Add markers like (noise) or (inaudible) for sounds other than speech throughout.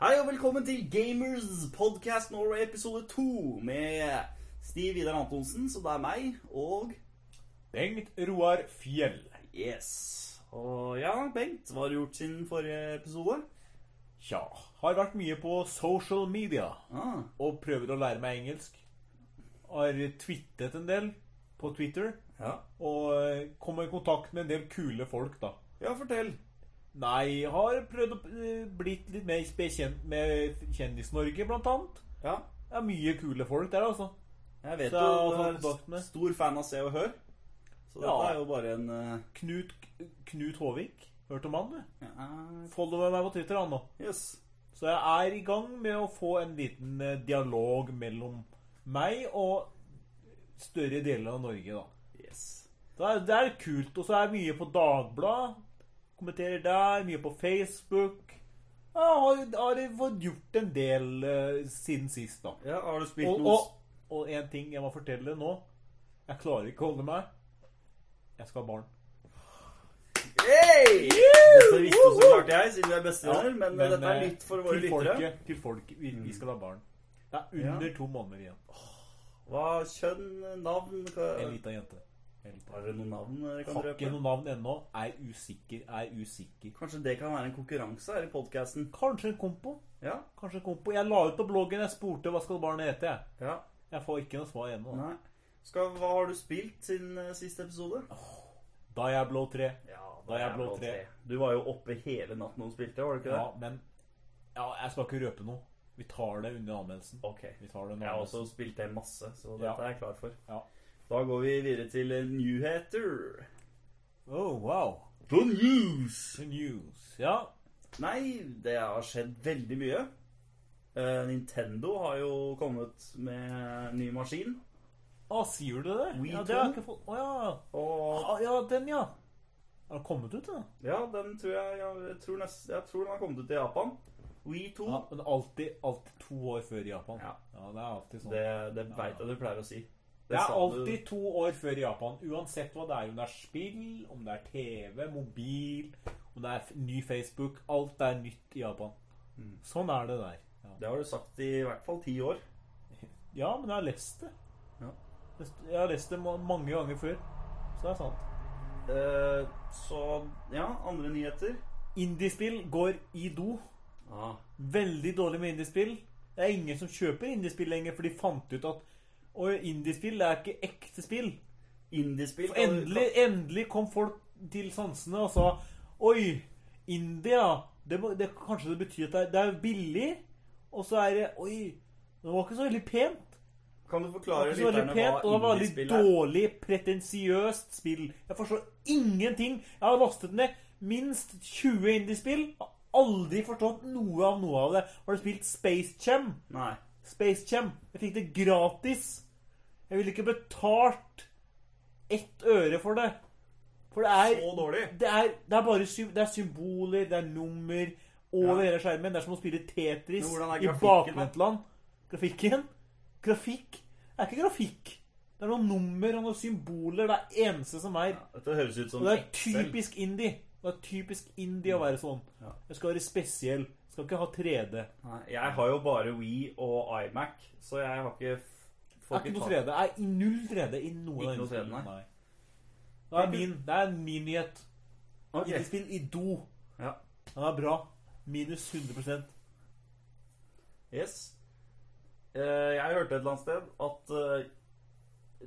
Hei og velkommen til Gamers Podcast Norway episode 2 med Stiv Vidar Antonsen, så det er meg, og Bengt Roar Fjell. yes. Og ja, Bengt, hva har du gjort siden forrige episode? Tja, har vært mye på social media Ah, og prøver å lære meg engelsk. Har twittet en del på Twitter ja. og eh, kommer i kontakt med en del kule folk, da. ja, fortell. Nei, har prøvd å eh, blitt litt mer bekjent med Kjendis-Norge, blant annet. Ja, Det er mye kule folk der, altså. jeg vet Så jo jeg har du tatt er kontakt med- stor fan av Se og Hør, så Ja. dette er jo bare en... eh, Knut, Knut Håvik. Hørt om han, du? Ja, Follower meg på Twitter, han nå. yes. Så jeg er i gang med å få en liten eh, dialog mellom meg og større deler av Norge, da. Yes. Så det er, det er kult. Og så er jeg mye på Dagbladet. Kommenterer der. Mye på Facebook. Jeg har, har fått gjort en del eh, siden sist, da. Ja, har du spilt Og, noe... og, og en ting jeg må fortelle nå. Jeg klarer ikke å holde meg. Jeg skal ha barn. Hey! Dette visste jo så klart jeg, siden vi er bestevenner, men, Men, dette er eh, nytt for våre til lyttere. Mm. folket- Til folket. Vi, vi skal ha barn. Det er under to måneder igjen. Hva, kjønn, navn... Hva... En lita jente. En liten- Har dere noen navn dere kan Har ikke røpe? noe navn ennå. Er usikker, er usikker. Kanskje det kan være en konkurranse her i podcasten? Kanskje en kompo. Ja? Kanskje en kompo. Jeg la ut på bloggen, jeg spurte hva skal barnet hete. jeg. Ja. Jeg får ikke noe svar ennå. Nei. Skal, hva har du spilt siden eh, siste episode? Diablo 3. Ja, da er jeg blå tre. Du var jo oppe hele natten og spilte, var du ikke det? Ja, men ja, jeg skal ikke røpe noe. Vi tar det under anmeldelsen. Ok. Vi tar det Jeg under har anmeldelsen. også spilt det masse, så dette Ja. er jeg klar for. Ja. Da går vi videre til eh, nyheter. Oh, wow. The news! The news. Ja. Nei, det har skjedd veldig mye. Eh, Nintendo har jo kommet med ny maskin. Å, sier du det? Wii ja, det har 2. jeg ikke fått Å ja. Og Ah, ja, den, ja. Har den kommet ut, da? Ja, den tror jeg Jeg tror, nest, jeg tror den har kommet ut i Japan. Wii 2. Ja, men alltid, alltid to år før i Japan. Ja. det er alltid sånn. Det, det veit jeg du pleier å si. Det er sa du- alltid to år før i Japan, uansett hva det er. Om det er spill, om det er TV, mobil, om det er f- ny Facebook. Alt er nytt i Japan. Mm. Sånn er det der. Ja, Det har du sagt i hvert fall ti år. ja men jeg har lest det. Ja. Jeg har lest det ma- mange ganger før. Så det er sant. Eh, så ja, andre nyheter. Indiespill går i do. Ah. Veldig dårlig med indiespill. Det er ingen som kjøper indiespill lenger, for de fant ut at Og indiespill er ikke ekte spill. Indiespill For Endelig, endelig kom folk til sansene og sa Oi, India det, må- det, Kanskje det betyr at det er, det er billig? Og så er det Oi, det var ikke så veldig pent. Kan du Det forklare var ikke så veldig pent, og det var veldig er? dårlig, pretensiøst spill. Jeg forstår ingenting. Jeg har lastet ned minst 20 indiespill. Har aldri forstått noe av noe av det. Har du spilt Space Chem? Nei. Space Jam. Jeg fikk det gratis. Jeg ville ikke betalt ett øre for det. For det er, Så dårlig. det er, det er bare sy det er symboler, det er nummer over hele skjermen. Det er som å spille Tetris Men hvordan er i grafikken, da? bakvendtland. Grafikken? Grafikk? Det er ikke grafikk. Det er noen nummer og noen symboler. Det er eneste som er. Dette høres ut som Og det er sånn Excel. typisk indie. Det er typisk indie å være sånn. Ja. Jeg skal være spesiell. Jeg skal ikke ha 3D. Nei, Jeg har jo bare Wii og iMac, så jeg har ikke f- Det får er ikke noe tatt- 3D. Det er i null 3D i noen Ikke av noe 3D, innspillene. nei. Det er min. Det er min nyhet. Ok. Indiespill i do. Ja. Den er bra. Minus 100 Yes. Eh, jeg hørte et eller annet sted at eh,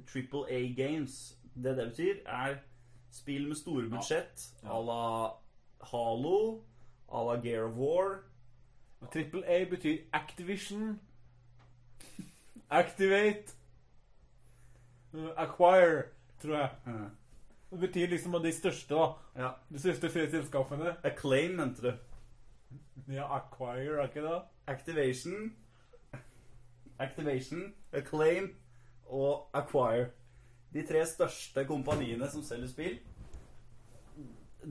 Triple A Games, det det betyr, er spill med store budsjett à la Halo, à la Gear of War Trippel A betyr Activision. Activate. Uh, Acquire, tror jeg. Det betyr liksom av de største, da. Ja. De største tre selskapene. Acclaim, mente du. Ja, Acquire, er ikke det? Activation Activation, Acclaim og Acquire. De tre største kompaniene som selger spill.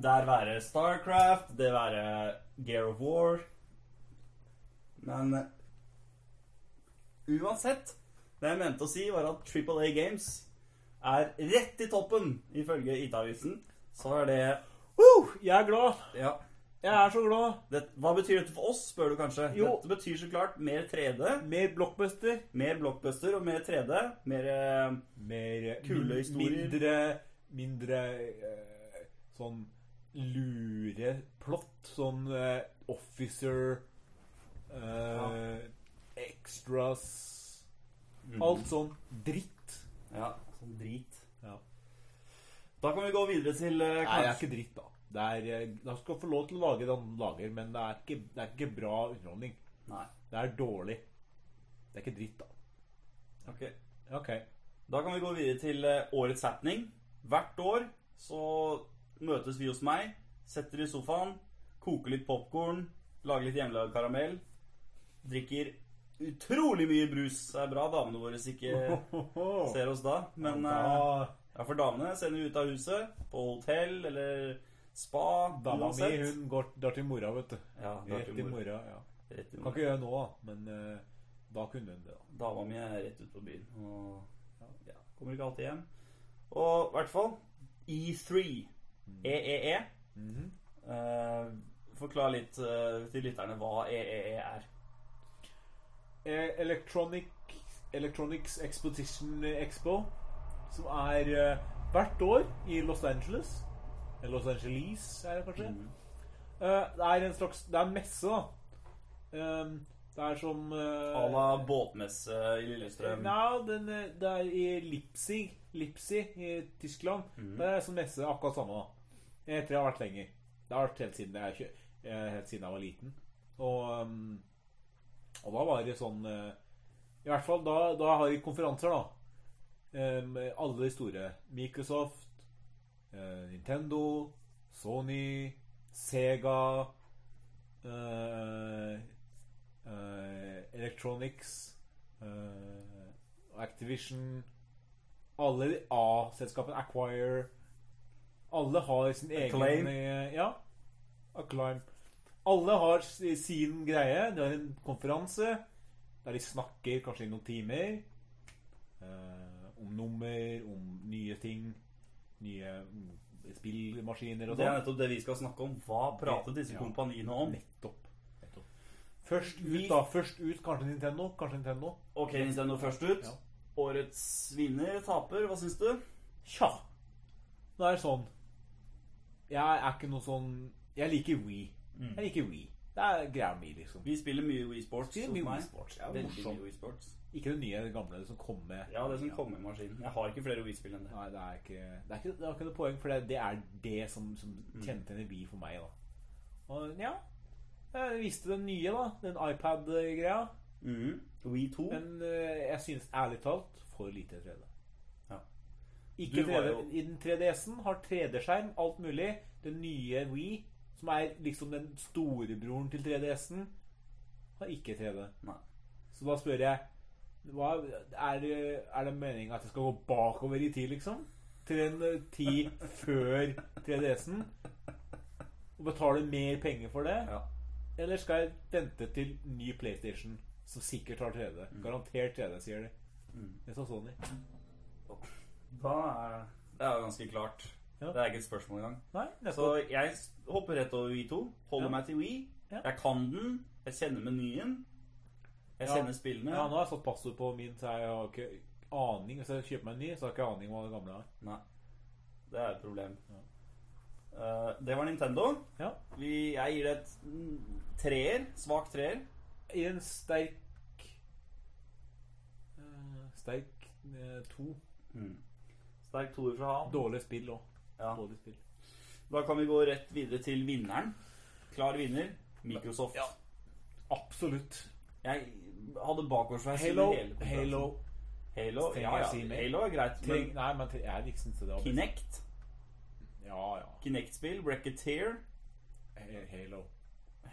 Der være Starcraft, det være Gear of War Men eh, uansett Det jeg mente å si, var at Triple A Games er rett i toppen, ifølge IT-avisen. Så er det Woo! Jeg er glad. ja. Jeg er så glad. Det, hva betyr dette for oss, spør du kanskje? Jo. Dette betyr så klart mer 3D, Mer blockbuster. mer blockbuster og mer 3D. Mer eh, Mer eh, Kule min- historier. Mindre, mindre eh, sånn lure plott. Sånn eh, officer eh, Extras Mm. Alt sånn dritt. Ja, sånn drit. Ja. Da kan vi gå videre til eh, Nei, det er kanskje ikke dritt, da. Det er, eh, han skal få lov til å lage det han lager, men det er ikke, det er ikke bra underholdning. Nei. Det er dårlig. Det er ikke dritt, da. Ok. Ok. Da kan vi gå videre til eh, årets happening. Hvert år så møtes vi hos meg, setter i sofaen, koker litt popkorn, lager litt hjemmelagd karamell, drikker utrolig mye brus. Det er bra damene våre ikke (laughs) ser oss da, men eh, da, Ja, for damene sender vi ut av huset, på hotell eller spa, Dama mi uansett. hun går drar til mora, vet du. Ja, det er Rett til mora. ja. Rett i Kan mor. ikke gjøre det nå, da, men eh, da kunne hun det. da. Dama mi er rett ut på byen, og ja, kommer ikke alltid hjem. Og i hvert fall E E3. Mm. EEE. E Eh, forklar litt eh, til lytterne hva EEE er. Eh, Electronic, Electronics Exposition Expo, som er eh, hvert år i Los Angeles. Eller Los Angeles, er det kanskje. Eh, det er en slags Det er messe, da. Eh, det er som eh, À la båtmesse i Lillestrøm. Nei, den, eh, det er i Leipzig, Leipzig i Tyskland. Det er sånn messe akkurat samme, da. Jeg tror jeg har vært lenger. Det har vært helt siden jeg, kjø- eh, helt siden jeg var liten. Og, um, og da var det sånn eh, I hvert fall da, da har de konferanser, da. Em, alle de store. Microsoft, eh, Nintendo, Sony, Sega eh, eh, Electronics eh, Activision Alle de A-selskapene, Acquire Alle har sin egen Acclaim. eh, Ja. Acclaim. Alle har s- sin greie. De har en konferanse der de snakker kanskje i noen timer. eh, om nummer, om nye ting. Nye mm, spillmaskiner og Det er sånn. nettopp det vi skal snakke om. Hva pratet disse Ja. kompaniene om? Nettopp. Nettopp. Først ut, Vi- da. Først ut, kanskje Nintendo. Kanskje Nintendo. Ok, Nintendo først ut. Ja. Årets vinner, taper, hva syns du? Tja. Det er sånn Jeg er ikke noe sånn Jeg liker Wii. Jeg liker Wii. Det er greia mi, liksom. Vi spiller mye Mm. Wii Sports Spiller hos mye meg. Wii Sports, ja, Veldig morsomt. mye Wii Sports. Ikke det nye, det gamle det som kom med. Ja, det som kommer i maskinen. Jeg har ikke flere Wii-spill enn det. Nei, det er ikke Det er ikke, det er ikke noe poeng, for det, det er det som, som Mm. kjennetegner Wii for meg, da. Og ja Jeg viste den nye, da. Den iPad-greia. Mhm. Wii 2. Men eh, jeg synes ærlig talt for lite 3D. Ja. Ikke Du var 3D. jo- I den 3DS-en har 3D-skjerm, alt mulig. Den nye Wii, som er liksom den storebroren til 3DS-en, har ikke 3D. Nei. Så da spør jeg hva, er, det, er det meningen at jeg skal gå bakover i tid, liksom? Til en eh, tid før 3DS-en? Og betale mer penger for det? Ja. Eller skal jeg vente til ny PlayStation, som sikkert har 3D? Garantert 3D, sier de. Det sa Sony. Da er det er jo ganske klart. Ja. Det er ikke et spørsmål engang. Nei, Så nettopp. jeg s- hopper rett over Wii 2. Holder Ja. meg til Wii. Ja. Jeg kan den. Jeg kjenner menyen. Jeg Ja. kjenner spillene. Ja, nå har jeg satt passord på min, så jeg har ikke aning. Hvis jeg kjøper meg en ny, så har jeg ikke aning hva det gamle er. Nei. Det er et problem. Eh, det var Nintendo. Ja. Vi, jeg gir det et mm, treer. Svak treer. I en sterk eh, Sterk eh, to. Sterk toer fra han. Dårlig spill òg. Ja. Dårlig spill. Da kan vi gå rett videre til vinneren. Klar vinner Microsoft. Ja. Absolutt. Jeg hadde bakoversveis Halo, under hele konferansen. Halo Halo, Trenger ja, jeg ja. si mer? Halo er greit, Treng, men Nei, men tre- jeg liker ikke det. var- Kinect, Ja, ja. Kinect-spill, Racketeer He- Halo.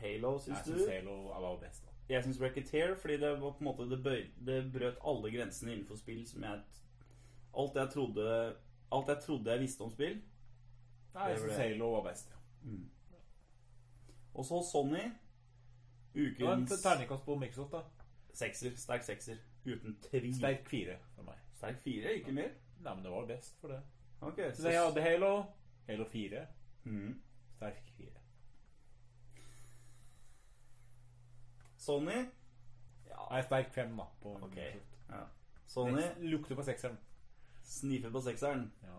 Halo, Jeg syns syns du? Halo var best. da. Jeg syns Racketeer, fordi det var på en måte det, bøy, det brøt alle grensene innenfor spill som jeg Alt jeg trodde Alt jeg trodde jeg visste om spill. Nei, jeg Det ble- syns Halo var best. ja. Og så Sony. Det var et Ukens terningkast på Microsoft, da. sekser. Sterk sekser. Uten tvil. Sterk fire for meg. Sterk fire, ikke mer? Nei, men det var best for det. Ok, Så jeg hadde Halo. Halo 4. Mhm. Sterk 4. Sony Nei, sterk fem, da. På Ok. ja. Sony Lukter på sekseren. snifer på sekseren, Ja,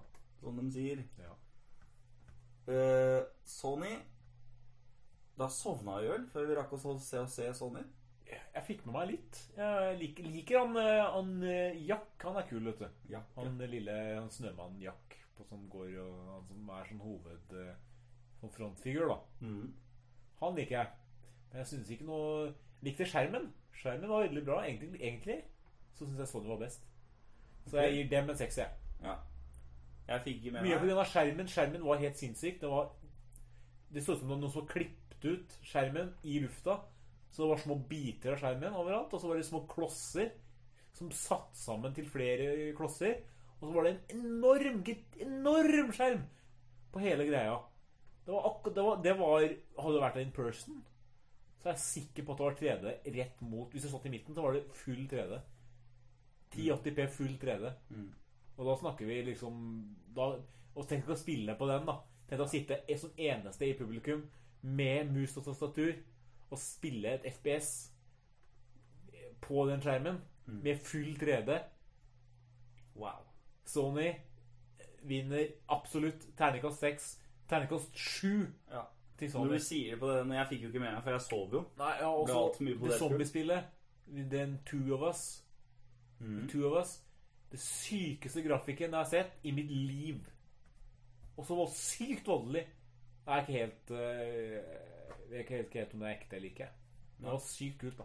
som de sier. ja. Eh, Sony Da sovna jeg i øl før vi rakk å se og se Sony. Jeg fikk med meg litt. Jeg liker, liker han, eh, han eh, Jack. Han er kul, vet du. Ja. Han lille han snømannen Jack på, som går og Han som er sånn hoved... eh, Sånn frontfigur, da. Mhm. Han liker jeg. Men jeg synes ikke noe Likte skjermen. Skjermen var veldig bra. Egentlig, egentlig så syns jeg Sony var best. Så jeg gir dem en sekser, jeg. ja. Jeg fikk ikke med Mye meg pga. skjermen. Skjermen var helt sinnssyk. Det var Det så ut som om noen som klippet ut skjermen i lufta. Så det var små biter av skjermen overalt, og så var det små klosser som satt sammen til flere klosser. Og så var det en enorm, git- enorm skjerm på hele greia. Det var akkurat det, var, det var Hadde det vært en person, så er jeg sikker på at det var 3D rett mot Hvis det satt i midten, så var det full 3D. 1080P full 3D. Og da snakker vi liksom da, Og tenk å spille på den, da. Tenk å sitte e- som eneste i publikum med mus og tastatur og spille et FPS på den skjermen med full 3D. Wow. Sony vinner absolutt terningkast 6. Terningkast 7 Ja. til Når Sony. du sier på det, men jeg fikk jo ikke med meg, for jeg sov jo. Nei, ja, Det er alt også mye på det det, tror jeg. zombiespillet. Den Two of Us. Mm. The Two of Us. Det sykeste grafikken jeg har sett i mitt liv. Og så var sykt voldelig. Jeg er ikke helt eh, Jeg er ikke helt, helt om det er ekte eller ikke. Men det var sykt kult, da.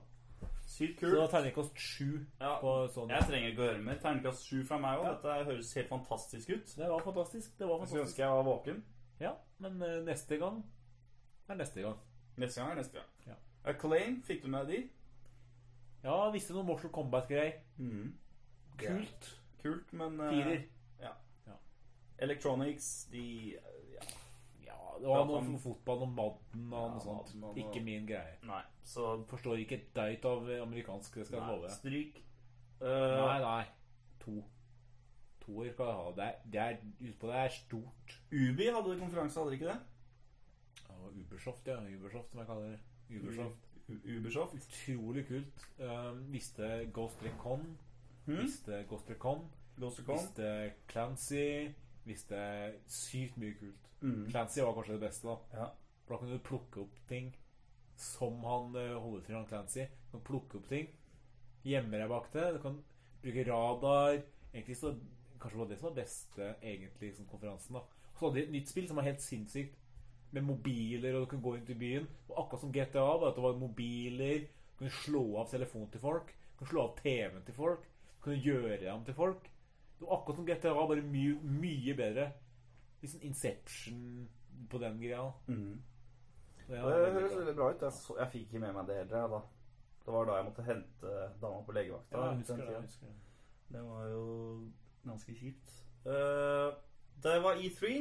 Sykt Så det kult. var terningkast sju Ja. på sånn. Jeg trenger ikke å høre mer. Terningkast sju fra meg òg. Dette høres helt fantastisk ut. Det var fantastisk. Det var Jeg skulle ønske fantastisk. jeg var våken. Ja, men eh, neste gang er neste gang. Neste gang er neste gang. Ja. Acclaim, fikk du med de? Ja, visste noe Mortal Kombat-greier. Kult. Kult, men eh, Firer. Mm. Ja. Ja. Electronics, de ja. Ja, det var Ja, noe han- om fotball og Madden og Ja, noe sånt. Madden og- Ikke min greie. Nei, så Forstår ikke et døyt av amerikansk, det skal jeg love. Nei, stryk. Nei, Eh, nei. To. Toer skal jeg ha. Det er, det er, utpå det er stort. Ubi hadde konferanse, hadde de ikke det? Ja, Ubersoft, ja. Ubersoft, som jeg kaller det. Ubersoft. U- Ubisoft. Utrolig kult. Um, visste Ghost Recon. Visste Ghost Recon. Ghost Recon. Visste Clancy. Visste sykt mye kult. Clancy var kanskje det beste, da. Ja. For da kan du plukke opp ting som han eh, holder til han Clancy. Du kan plukke opp ting, gjemme deg bak det, du kan bruke radar Egentlig så Kanskje det var det som var beste egentlig som konferansen. da Og Så hadde de et nytt spill som var helt sinnssykt, med mobiler, og du kunne gå rundt i byen. Og akkurat som GTA, bare at det var mobiler, du kunne slå av telefonen til folk, du kunne slå av TV-en til folk, du kunne gjøre deg om til folk. Det var akkurat som GTA, bare mye, mye bedre. Litt sånn Inception på den greia. Mm. Ja, Eh, Det veldig høres bra. veldig bra ut. Jeg, så, jeg fikk ikke med meg det heller. jeg, da. Det var da jeg måtte hente dama på legevakta. Ja, jeg den husker det, jeg tiden. husker det. Det var jo ganske kjipt. Eh, det var E3.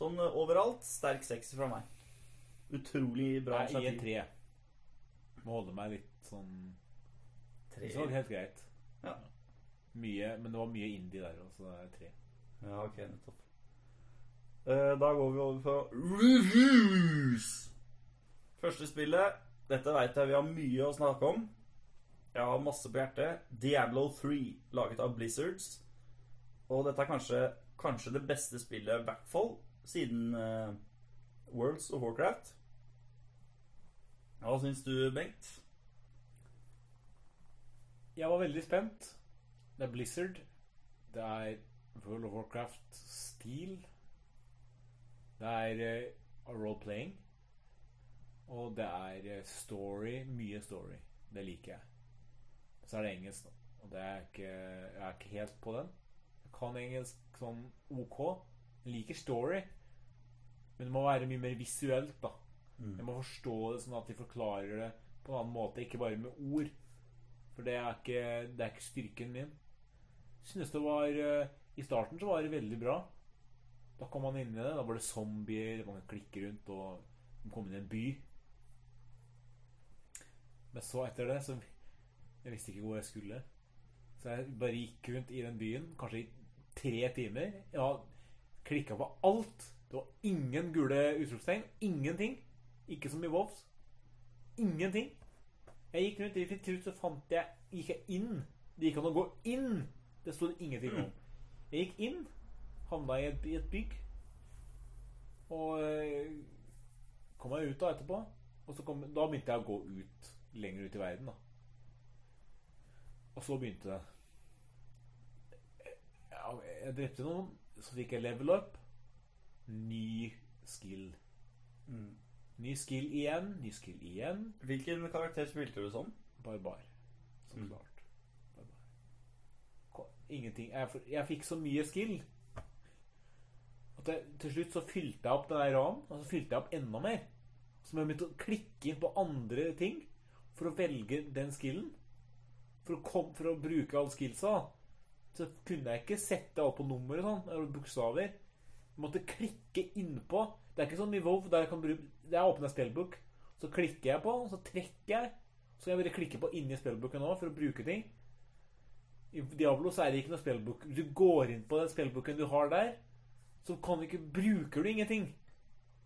Sånn eh, overalt. Sterk sekser fra meg. Utrolig bra Nei, E i en tre. Må holde meg litt sånn Det var Tre. helt greit. Ja. Mye, men det var mye indie der òg, så det er tre. ja, ok, nettopp. Eh, da går vi over på reviews. Første spillet. Dette veit jeg vi har mye å snakke om. Jeg har masse på hjertet. Diablo 3, laget av Blizzards. Og dette er kanskje, kanskje det beste spillet, i hvert fall siden eh, Worlds of Warcraft. Hva syns du, Bengt? Jeg var veldig spent. Det er Blizzard. Det er World of Warcraft-stil. Det er eh, role-playing. Og det er eh, story. Mye story. Det liker jeg. Så er det engelsk, da. Og det er ikke, jeg er ikke helt på den. Jeg kan engelsk sånn OK. Jeg liker story. Men det må være mye mer visuelt, da. Jeg må forstå det sånn at de forklarer det på en annen måte, ikke bare med ord. For det er ikke, det er ikke styrken min. Synes det var eh, I starten så var det veldig bra. Da kom man inn i det. Da var det zombier, man kunne klikke rundt og man kom inn i en by. Men så etter det så Jeg visste ikke hvor jeg skulle. Så jeg bare gikk rundt i den byen, kanskje i tre timer. Jeg har klikka på alt. Det var ingen gule utropstegn. Ingenting. Ikke som i Vovs. Ingenting. Jeg gikk rundt, gikk rundt, så fant jeg Gikk jeg inn? Det gikk an å gå inn! Det sto det ingenting om. Jeg gikk inn, havna i et, i et bygg, og eh, kom meg ut da etterpå. Og så kom, da begynte jeg å gå ut, lenger ut i verden, da. Og så begynte det. Ja, jeg drepte noen, så fikk jeg level up. Ny skill. Ny skill igjen, ny skill igjen. Hvilken karakter spilte du som? Barbar. Som Mm. klart. Barbar. Ko- Ingenting. Jeg, for- jeg fikk så mye skill at jeg, til slutt så fylte jeg opp den der ranen, og så fylte jeg opp enda mer. Så må jeg begynte å klikke på andre ting for å velge den skillen. For å, kom, for å bruke all skillsa. da. Så kunne jeg ikke sette opp på nummer og sånn, eller bokstaver. Jeg måtte klikke innpå. Det er ikke sånn i WoW, der jeg kan bruke Der jeg åpner spillbook, så klikker jeg på, så trekker jeg. Så kan jeg bare klikke på inni spillbooken nå for å bruke ting. I Diablo så er det ikke noe spillbook. Du går inn på den spillbooken du har der, så kan du ikke Bruker du ingenting.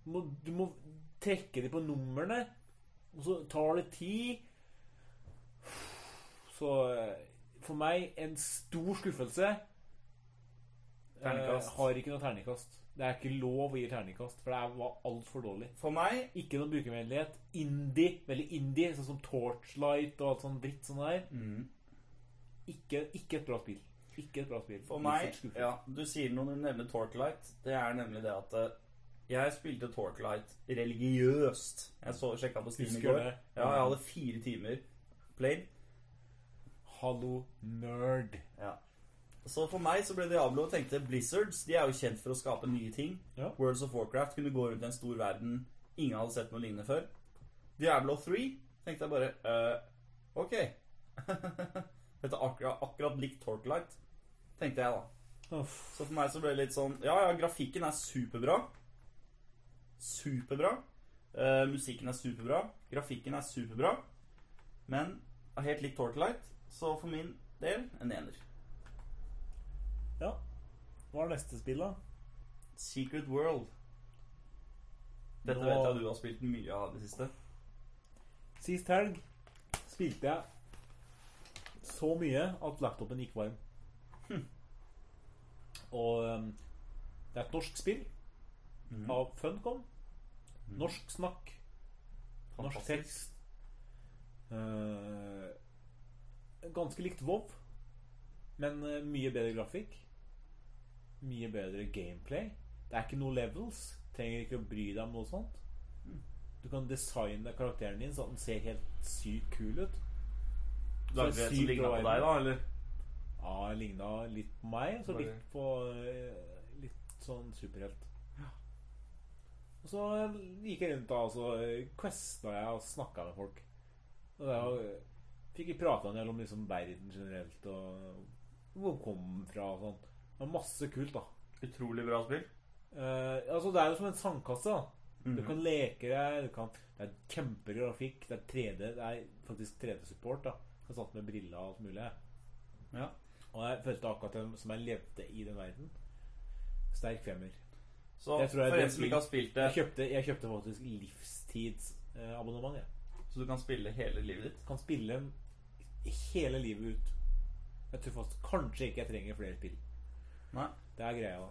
Du må, du må trekke dem på numrene, og så tar det tid. Så eh, for meg en stor skuffelse. Terningkast. Eh, har ikke noe terningkast. Det er ikke lov å gi terningkast, for det er- var altfor dårlig. For meg Ikke noe brukervennlighet. Indie, veldig indie, sånn som Torchlight og alt sånn dritt sånn der. mm, Ikke, ikke et bra spill. Ikke et bra spill. For Blir meg, fort skuffet. ja, du sier noe når du nevner Torchlight. Det er nemlig det at eh, jeg spilte Torchlight religiøst. Jeg så, sjekka på Steam i Husker går. det. Ja, jeg hadde fire timer played. Hallo, nerd. Ja. Så for meg så ble Diablo og tenkte Blizzards de er jo kjent for å skape nye ting. Ja. Worlds of Warcraft kunne gå rundt i en stor verden ingen hadde sett noe lignende før. Diablo 3 tenkte jeg bare eh, Ok. (laughs) Dette er akkurat, akkurat likt Torchlight, tenkte jeg da. Uff. Så for meg så ble det litt sånn Ja, ja, grafikken er superbra. Superbra. Eh, musikken er superbra. Grafikken er superbra. Men er helt likt Torchlight, så for min del en ener. Ja. Hva er neste spill, da? Secret World. Dette Nå- vet jeg du har spilt mye av det siste. Sist helg spilte jeg så mye at laptopen gikk varm. Hm. Og um, det er et norsk spill Mhm. av Funcom. Norsk snakk, norsk Fantastisk. tekst. Eh, ganske likt WoW, men eh, mye bedre grafikk. Mye bedre gameplay. Det er ikke noe levels. Trenger ikke å bry deg om noe sånt. Du kan designe karakteren din så den ser helt sykt kul ut. Lagde du Så et som sykt ligna bra på verden. deg, da? Eller? Ja, jeg ligna litt på meg, og så Var det- litt på eh, Litt sånn superhelt. Og så gikk jeg rundt da, og så eh, questa jeg og snakka med folk. Og da eh, fikk jeg prata en del om liksom verden generelt, og hvor den kom fra og sånn. Det var masse kult, da. Utrolig bra spill. Mhm. Eh, altså Det er jo som en sandkasse. da Du kan leke deg. Du kan, det er kjempegrafikk. Det er 3D Det er faktisk 3D-support. da Jeg satt med briller og alt mulig. Ja. Og jeg følte akkurat dem som jeg levde i den verden. Sterk femmer. Så Jeg tror jeg for det en som spill- ikke har spilt Jeg det, kjøpte, jeg kjøpte faktisk livstidsabonnement. Jeg så du kan spille hele livet ditt kan spille hele livet ut. Jeg tror faktisk kanskje ikke jeg trenger flere spill. Nei. Det er greia. da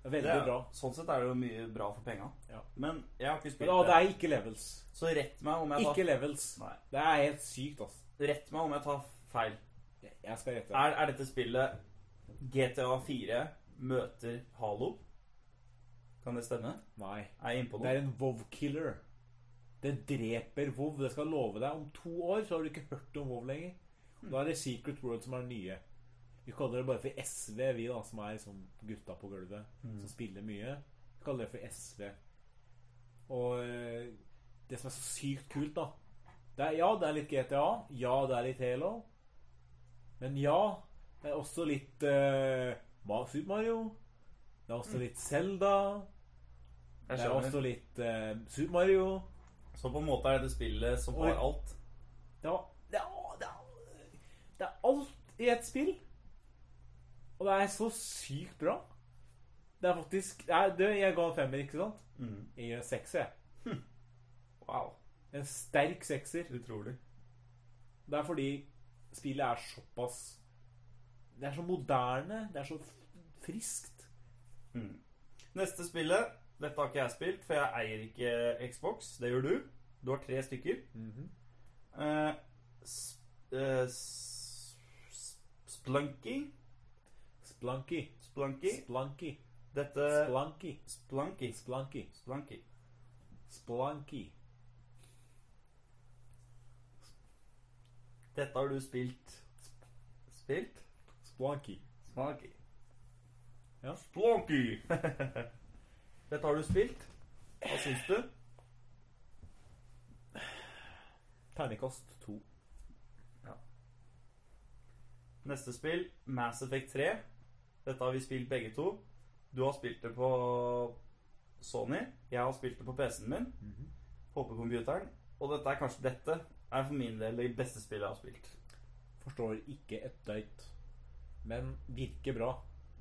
Det er veldig Det er, bra. sånn sett er det jo mye bra for penga. Ja. Men jeg har ikke Men spilt å, det det. er ikke levels. Så rett meg om jeg tar Ikke levels. Nei. Det er helt sykt, altså. Rett meg om jeg tar feil. Jeg skal gjette. Er, er dette spillet GTA 4 møter Halo? Kan det stemme? Nei. Er jeg innpå Det noe? er en Vov-killer. Det dreper Vov. Det skal jeg love deg. Om to år så har du ikke hørt om Vov lenger. Da er det Secret World som er det nye. Vi kaller det bare for SV, vi da, som er liksom gutta på gulvet som spiller mye. Vi kaller det for SV. Og eh, det som er så sykt kult, da det er, Ja, det er litt GTA. Ja, det er litt Halo. Men ja, det er også litt eh, Ma- Super Mario. Det er også litt Zelda. Jeg Det er også skjønner. litt eh, Super Mario. Så på en måte er dette spillet som har Oi. alt. Det er, det er, det er, det er alt i ett spill. Og det er så sykt bra. Det er faktisk det er, det, Jeg ga en femmer, ikke sant? Mm. Jeg gir en sekser. jeg. Wow. En sterk sekser. Utrolig. Det er fordi spillet er såpass Det er så moderne, det er så f- friskt. Neste spillet Dette har ikke jeg spilt, for jeg eier ikke Xbox. Det gjør du. Du har tre stykker. Eh, sp eh, s- s- Splunky Splanky. Splunky Splanky. Dette Splanky. Splunky Splanky. Splunky Splanky. Dette har du spilt Spilt? Splanky. Splunky Ja. Splunky (laughs) Dette har du spilt Hva syns du? Terningkast to. Neste spill, Mass Effect 3. Dette har vi spilt begge to. Du har spilt det på Sony. Jeg har spilt det på PC-en min. Mhm. På PC-computeren. Og dette er kanskje dette er for min del det beste spillet jeg har spilt. Forstår ikke et døyt. Men virker bra.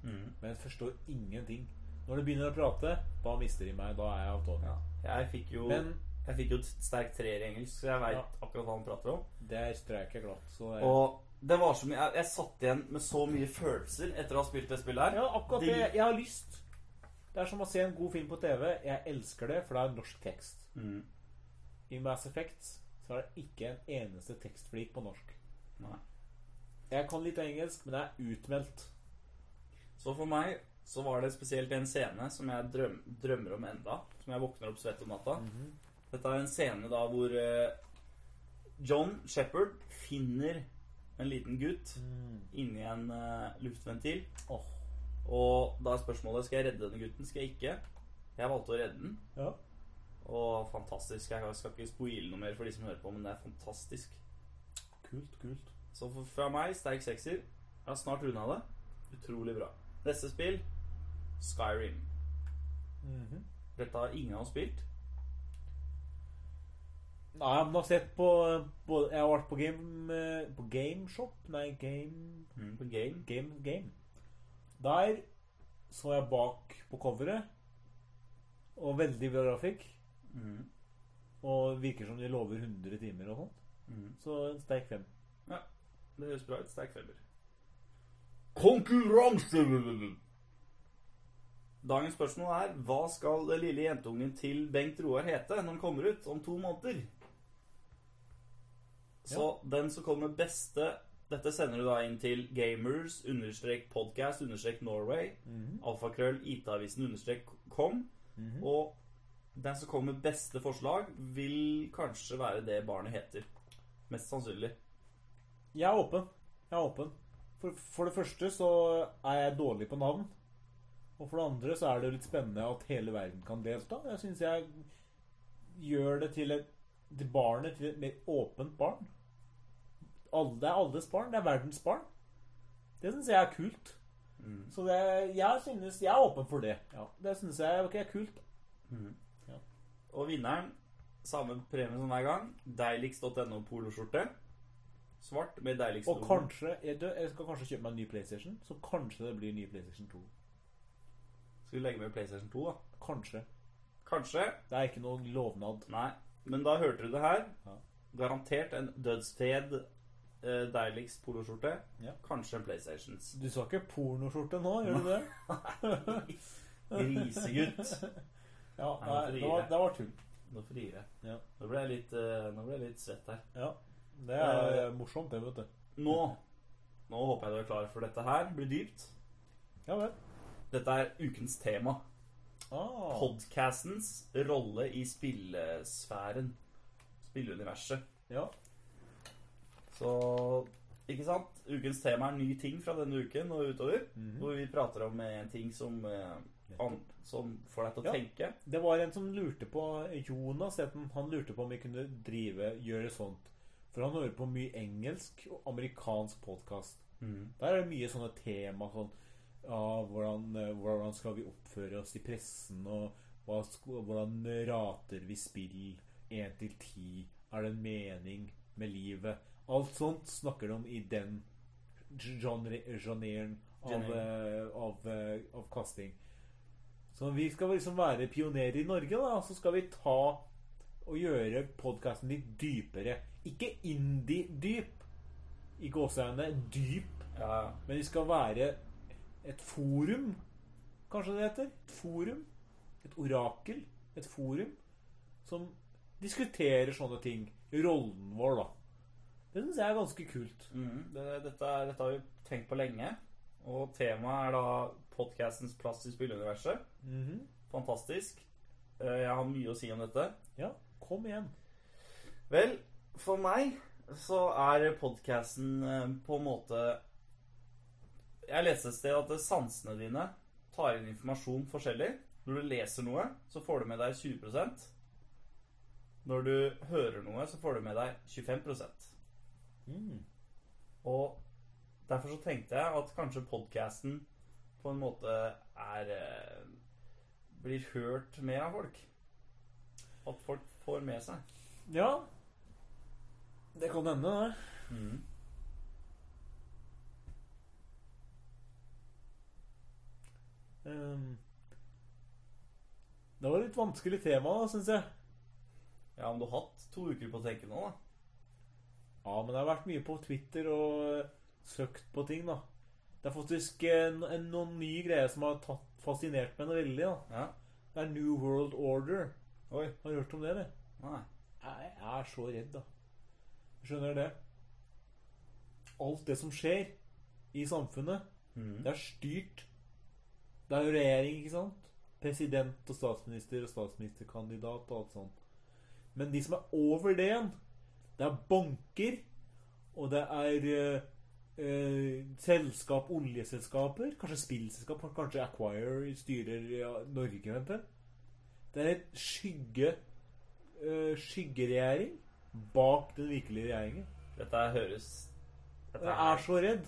Men forstår ingenting. Når du begynner å prate, da mister de meg. Da er jeg av tåa. Ja. Jeg fikk jo Men Jeg fikk jo et sterkt treer i engelsk, så jeg veit Ja. akkurat hva han prater om. det er streik jeg glatt. Så det er- Og det var så mye jeg, jeg satt igjen med så mye følelser etter å ha spilt det spillet her. Ja, akkurat De- det. Jeg har lyst. Det er som å se en god film på TV. Jeg elsker det, for det er norsk tekst. Mm. I Mass Effect så er det ikke en eneste tekstflik på norsk. Nei. Jeg kan litt engelsk, men det er utmeldt. Så for meg så var det spesielt en scene som jeg drøm, drømmer om enda, som jeg våkner opp svett om natta. Dette er en scene da hvor eh, John Shepherd finner en liten gutt Mm. inni en eh, luftventil. Åh. Og da er spørsmålet skal jeg redde denne gutten, skal jeg ikke? Jeg valgte å redde den. Ja. Og fantastisk. Jeg skal ikke spoile noe mer for de som hører på, men det er fantastisk. Kult, kult. Så for, fra meg, sterk sekser. Jeg har snart runda det. Utrolig bra. Neste spill, Skyrim. Mhm. Dette har ingen av oss spilt. Nei, men jeg har sett på, på Jeg har vært på game eh, På Gameshop Nei, Game På game. Game Game. Der så jeg bak på coveret, og veldig bra grafikk. Og virker som de lover 100 timer og sånt. Så en sterk fem. Ja, det høres bra ut. Sterk feber. Konkurranse! Dagens spørsmål er hva skal den lille jentungen til Bengt Roar hete når han kommer ut om to måneder? Så den som kommer med beste Dette sender du da inn til gamers understrek podcast understrek Norway. Alfakrøll IT-avisen understrek com. Og den som kommer med beste forslag, vil kanskje være det barnet heter. Mest sannsynlig. Jeg er åpen. Jeg er åpen. For, for det første så er jeg dårlig på navn. Og for det andre så er det jo litt spennende at hele verden kan delta. Jeg syns jeg gjør det til, et, til barnet til et mer åpent barn. Alle, det er alles barn. Det er verdens barn. Det syns jeg er kult. Så det, jeg synes jeg er åpen for det. Ja, det syns jeg ok, er kult. Og vinneren, samme premie som hver gang, deiligst.no poloskjorte. Svart med deiligst Og logo. kanskje jeg, dø- jeg skal kanskje kjøpe meg en ny PlayStation, så kanskje det blir ny PlayStation 2. Skal vi legge med PlayStation 2, da? Kanskje. Kanskje. Det er ikke noen lovnad. Nei. Men da hørte du det her. Ja. Garantert en dødsfed eh, deiligst poloskjorte. Ja. Kanskje en PlayStations. Du sa ikke pornoskjorte nå, gjør du det? Grisegutt. (laughs) Ja, Nei, nei, hvorfor det gir var, jeg? det var tull. Nå frir jeg. Ja. Nå ble jeg litt, eh, nå ble jeg litt svett her. Ja, det er eh, morsomt det, vet du. Nå, nå håper jeg du er klar for dette her. Blir dypt. Ja vel. Dette er ukens tema. Ah, Podcastens rolle i spillesfæren. Spilleuniverset. ja. Så ikke sant? Ukens tema er ny ting fra denne uken og utover. Mm. Mhm. Hvor vi prater om eh, en ting som, eh, an, som får deg til å Ja. tenke. Det var en som lurte på Jonas, het han. Han lurte på om vi kunne drive, gjøre sånt. For han hører på mye engelsk og amerikansk podkast. Der er det mye sånne tema sånn ja, hvordan, eh, hvordan skal vi oppføre oss i pressen, og hva, sk- hvordan rater vi spill én til ti? Er det en mening med livet? Alt sånt snakker de om i den genre- generen av, eh, av, eh, av casting. Så vi skal liksom være pionerer i Norge, da. og Så skal vi ta å gjøre podkasten litt dypere. Ikke indie-dyp, i gåseøynene dyp, Ja, men vi skal være et forum, kanskje det heter. Et forum. Et orakel. Et forum som diskuterer sånne ting. Rollen vår, da. Det syns jeg er ganske kult. Mm, det, dette, er- dette har vi tenkt på lenge. Og temaet er da podcastens plass i spilluniverset. Mhm. Fantastisk. Eh, Jeg har mye å si om dette. Ja, kom igjen. Vel, for meg så er podcasten eh, på en måte Jeg leste et sted at sansene dine tar inn informasjon forskjellig. Når du leser noe, så får du med deg 20 Når du hører noe, så får du med deg 25 Mm. Og derfor så tenkte jeg at kanskje podcasten på en måte er eh, Blir hørt mer av folk. At folk får med seg. Ja. Det kan hende, det. Mm. Ehm, det var et litt vanskelig tema, syns jeg. Ja, men du har hatt to uker på å tenke nå, da. Ja, men jeg har vært mye på Twitter og eh, søkt på ting, da. Det er faktisk en, en, noen nye greier som har tatt, fascinert meg noe veldig. da. Ja. Det er New World Order. Oi. Har du hørt om det, eller? Nei. Jeg er så redd, da. Du skjønner det? Alt det som skjer i samfunnet, det er styrt. Det er jo regjering, ikke sant? President og statsminister og statsministerkandidat og alt sånt. Men de som er over det igjen, det er banker, og det er eh, eh, selskap, oljeselskaper, kanskje spillselskap, kanskje Acquire styrer ja, Norge, vent jeg. Det er et skygge eh, skyggeregjering bak den virkelige regjeringen. Dette her høres dette Jeg er her, så redd.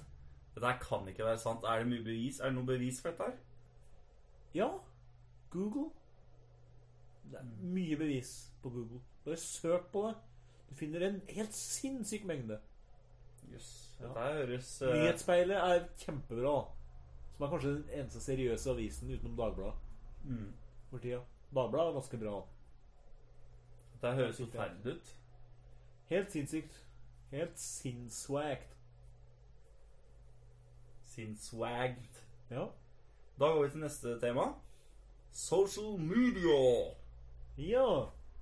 dette her kan ikke være sant. Er det mye bevis? Er det noe bevis for dette her? Ja, Google. Det er mye bevis på Google. Bare søk på det. Du finner en helt sinnssyk mengde. Jøss. Ja. Dette her høres eh, Nyhetsspeilet er kjempebra. Som er kanskje den eneste seriøse avisen utenom Dagbladet mm. for tida. Dagbladet er ganske bra. Dette her høres forferdelig ut. Helt sinnssykt. Helt sinnsswagt. Sinnsswagged. Ja. Da går vi til neste tema. Social media. ja.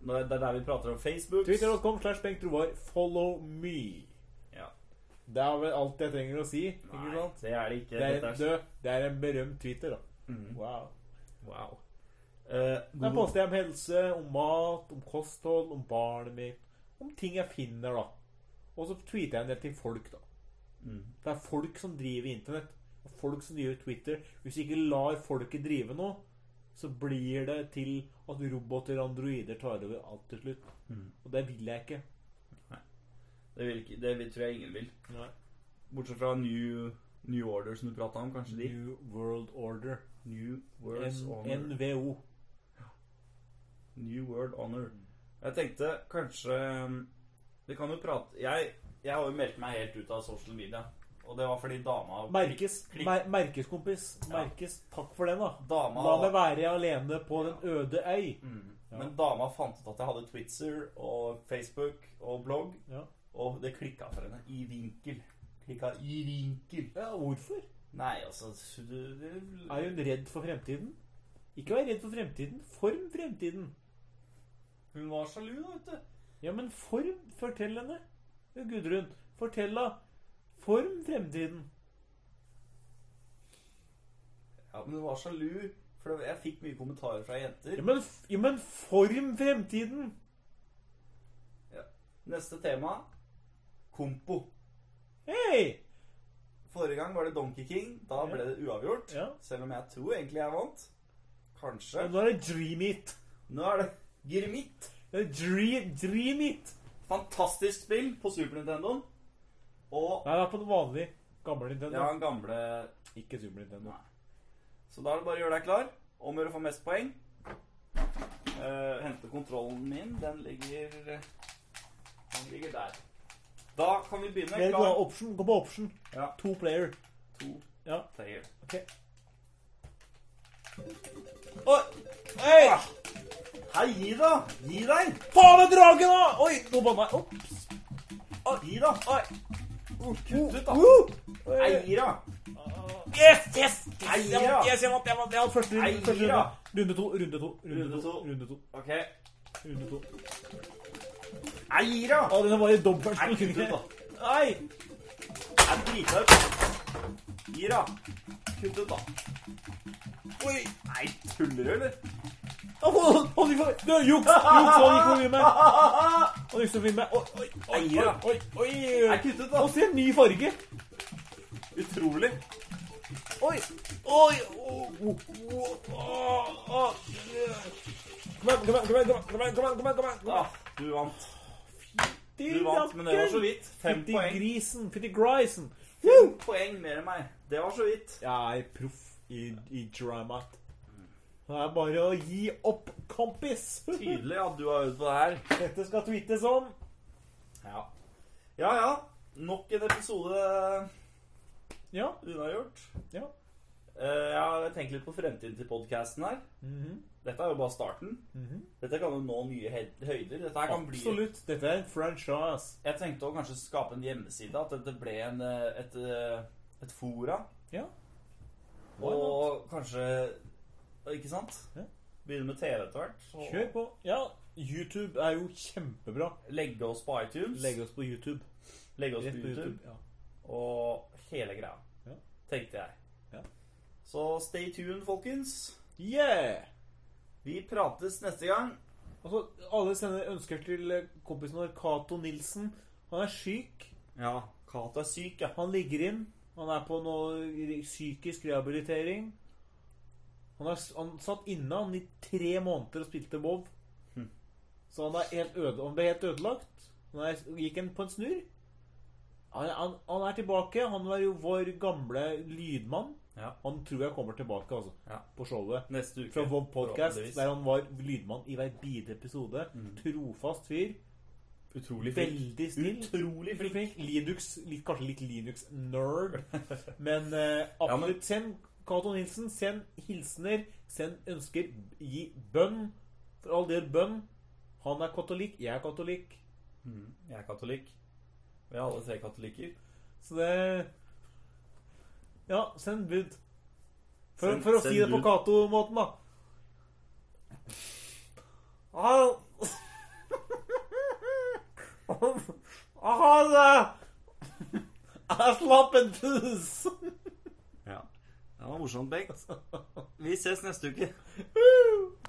Nå er- Det er der vi prater om Facebook. Twitter.com slash Bengt Roar. Follow me. Ja. Det er vel alt jeg trenger å si. Ikke Nei, sant? det er det ikke. Det er, Dette en, død, det er en berømt Twitter, da. Mm. Wow. Wow. Eh, Der Google, poster jeg om helse, om mat, om kosthold, om barnet mitt. Om ting jeg finner, da. Og så tweeter jeg en del til folk, da. Mm. Det er folk som driver internett. Og folk som driver Twitter. Hvis vi ikke lar folket drive noe, så blir det til at roboter og androider tar over alt til slutt. Mm. Og det vil jeg ikke. det, vil ikke, det vil- tror jeg ingen vil. Nei. Bortsett fra New, New Order, som du prata om. Kanskje de? New World Order. New Words N- Honor. NVO. New World Honor. Jeg tenkte kanskje um, Vi kan jo prate Jeg, jeg har jo meldt meg helt ut av sosiale media. Og det var fordi dama Merkes, Klikk. mer, merkes, kompis. Ja. Merkes. Takk for den, da. Dama La meg være alene på den øde øy. mm, Ja. Men dama fant ut at jeg hadde Twitzer og Facebook og blogg, Ja. og det klikka for henne. I vinkel. Klikka i vinkel. ja, hvorfor? Nei, altså du, du, Er hun redd for fremtiden? Ikke vær redd for fremtiden. Form fremtiden. Hun var sjalu, da, vet du. Ja, men form. Fortell henne. Ja, Gudrun, fortell henne. Form fremtiden. Ja, men hun var sjalu. For det- jeg fikk mye kommentarer fra jenter. Ja, men, f- ja, men form fremtiden! Neste tema Kompo. Hei! Forrige gang var det Donkey King. Da ble det uavgjort. Ja. Selv om jeg tror egentlig jeg vant. Kanskje. Men nå er det dream it. Nå er det Girmit. Det er dream, dream it. Fantastisk spill på Super Nintendo. Og Nei, det er på den vanlige. Gamle ja, Nintendo. den gamle Ikke Super Nintendo. Nei. Så da er det bare å gjøre deg klar. Om å gjøre å få mest poeng. Eh, hente kontrollen min. Den ligger Den ligger der. Da kan vi begynne. Gå Klar? option. Gå på option. Ja. To player. To, Ja, player. ok. Ah. Oi! Hey! Hei, gi da! Gi deg! Faen med dragen, da! Oi, nå banna jeg. Ops. Gi da! Oi. Kutt ut, da! Uh. Hei, gi da! Yes, yes! Nei, yes jeg ja. vant, yes, jeg vant, jeg vant, jeg vant første Nei, runde. Første ja. runde. runde to, runde to, Runde runde to, to. runde to. Ok. Runde to. Hei, gi da! Å, den er bare dobbelt Nei, så kutt ut, da. Nei! Jeg driter ut. Gi da! Kutt ut, da. Oi! Nei, tuller du, eller? (laughs) Å, han gikk forbi. Du, juks! Juks, han gikk forbi meg. Han gikk forbi meg. Oi, oi, oi, Nei, ja. oi, oi. Nei, oi. kutt ut, da. Nå ser jeg en ny farge. Utrolig. Oi! Oi! oh, Åh, åh, åh, åh. oh, Kom igjen, kom igjen, kom igjen, kom igjen, kom igjen, kom igjen, kom igjen, kom Ja, igjen. du vant. Fytti Ah, Du vant, men det var så rakken. vidt. Fem Fytti poeng. grisen, fytti grisen. Fem poeng mer enn meg. Det var så vidt. Jeg er proff i, i dramat. Det er bare å gi opp, kompis. Tydelig at du har øvd på det her. (laughs) Dette skal tweetes om. Ja. ja ja. Nok en episode Ja. unnagjort. ja. Eh, Jeg har tenkt litt på fremtiden til podkasten her. Mhm, Dette er jo bare starten. mhm. Dette kan jo nå nye høy- høyder. Dette her kan bli Absolutt. Dette er en franchise. Jeg tenkte å kanskje skape en hjemmeside. At dette ble en, eh, et, eh, et fora. Ja. Why Og kanskje Ikke sant? Ja. Begynne med TV etter hvert. og Kjør på. Ja, YouTube er jo kjempebra. Legge oss på iTunes. Legg oss på YouTube. Legge oss på Rett på YouTube. YouTube. Ja. Og hele greia. Ja. Tenkte jeg. Ja. Så stay tuned, folkens. Yeah! Vi prates neste gang. Altså, alle sender ønsker til eh, kompisen vår, Cato Nilsen. Han er syk. Ja, Cato er syk, ja. Han ligger inn. Han er på noe re- psykisk rehabilitering. Han, er, s- han satt inne han i tre måneder og spilte Vov. Hm. Så han, er helt øde, han ble helt ødelagt. Han er, gikk en, på en snurr. Han, han, han er tilbake. Han var jo vår gamle lydmann. Ja. Han tror jeg kommer tilbake altså, Ja. på showet. Neste uke. Fra Vov Podcast, forhåpentligvis. Hm. der han var lydmann i hver bidige episode. Trofast fyr. Utrolig flink. Veldig snill. Utrolig Veldig flink. flink. Linux, litt, kanskje litt Linux-nerd. Men eh, absolutt, send Cato Nilsen. Send hilsener. Send ønsker. Gi bønn. For all del bønn. Han er katolikk, jeg er katolikk. Mm, Jeg er katolikk. Vi er alle tre katolikker. Så det Ja, send bud. For, Send- for å send si det på bud. Cato-måten, da. Au. Ha det! Jeg slapp en pus. Ja. Det var morsomt, Bengt. Vi ses neste uke.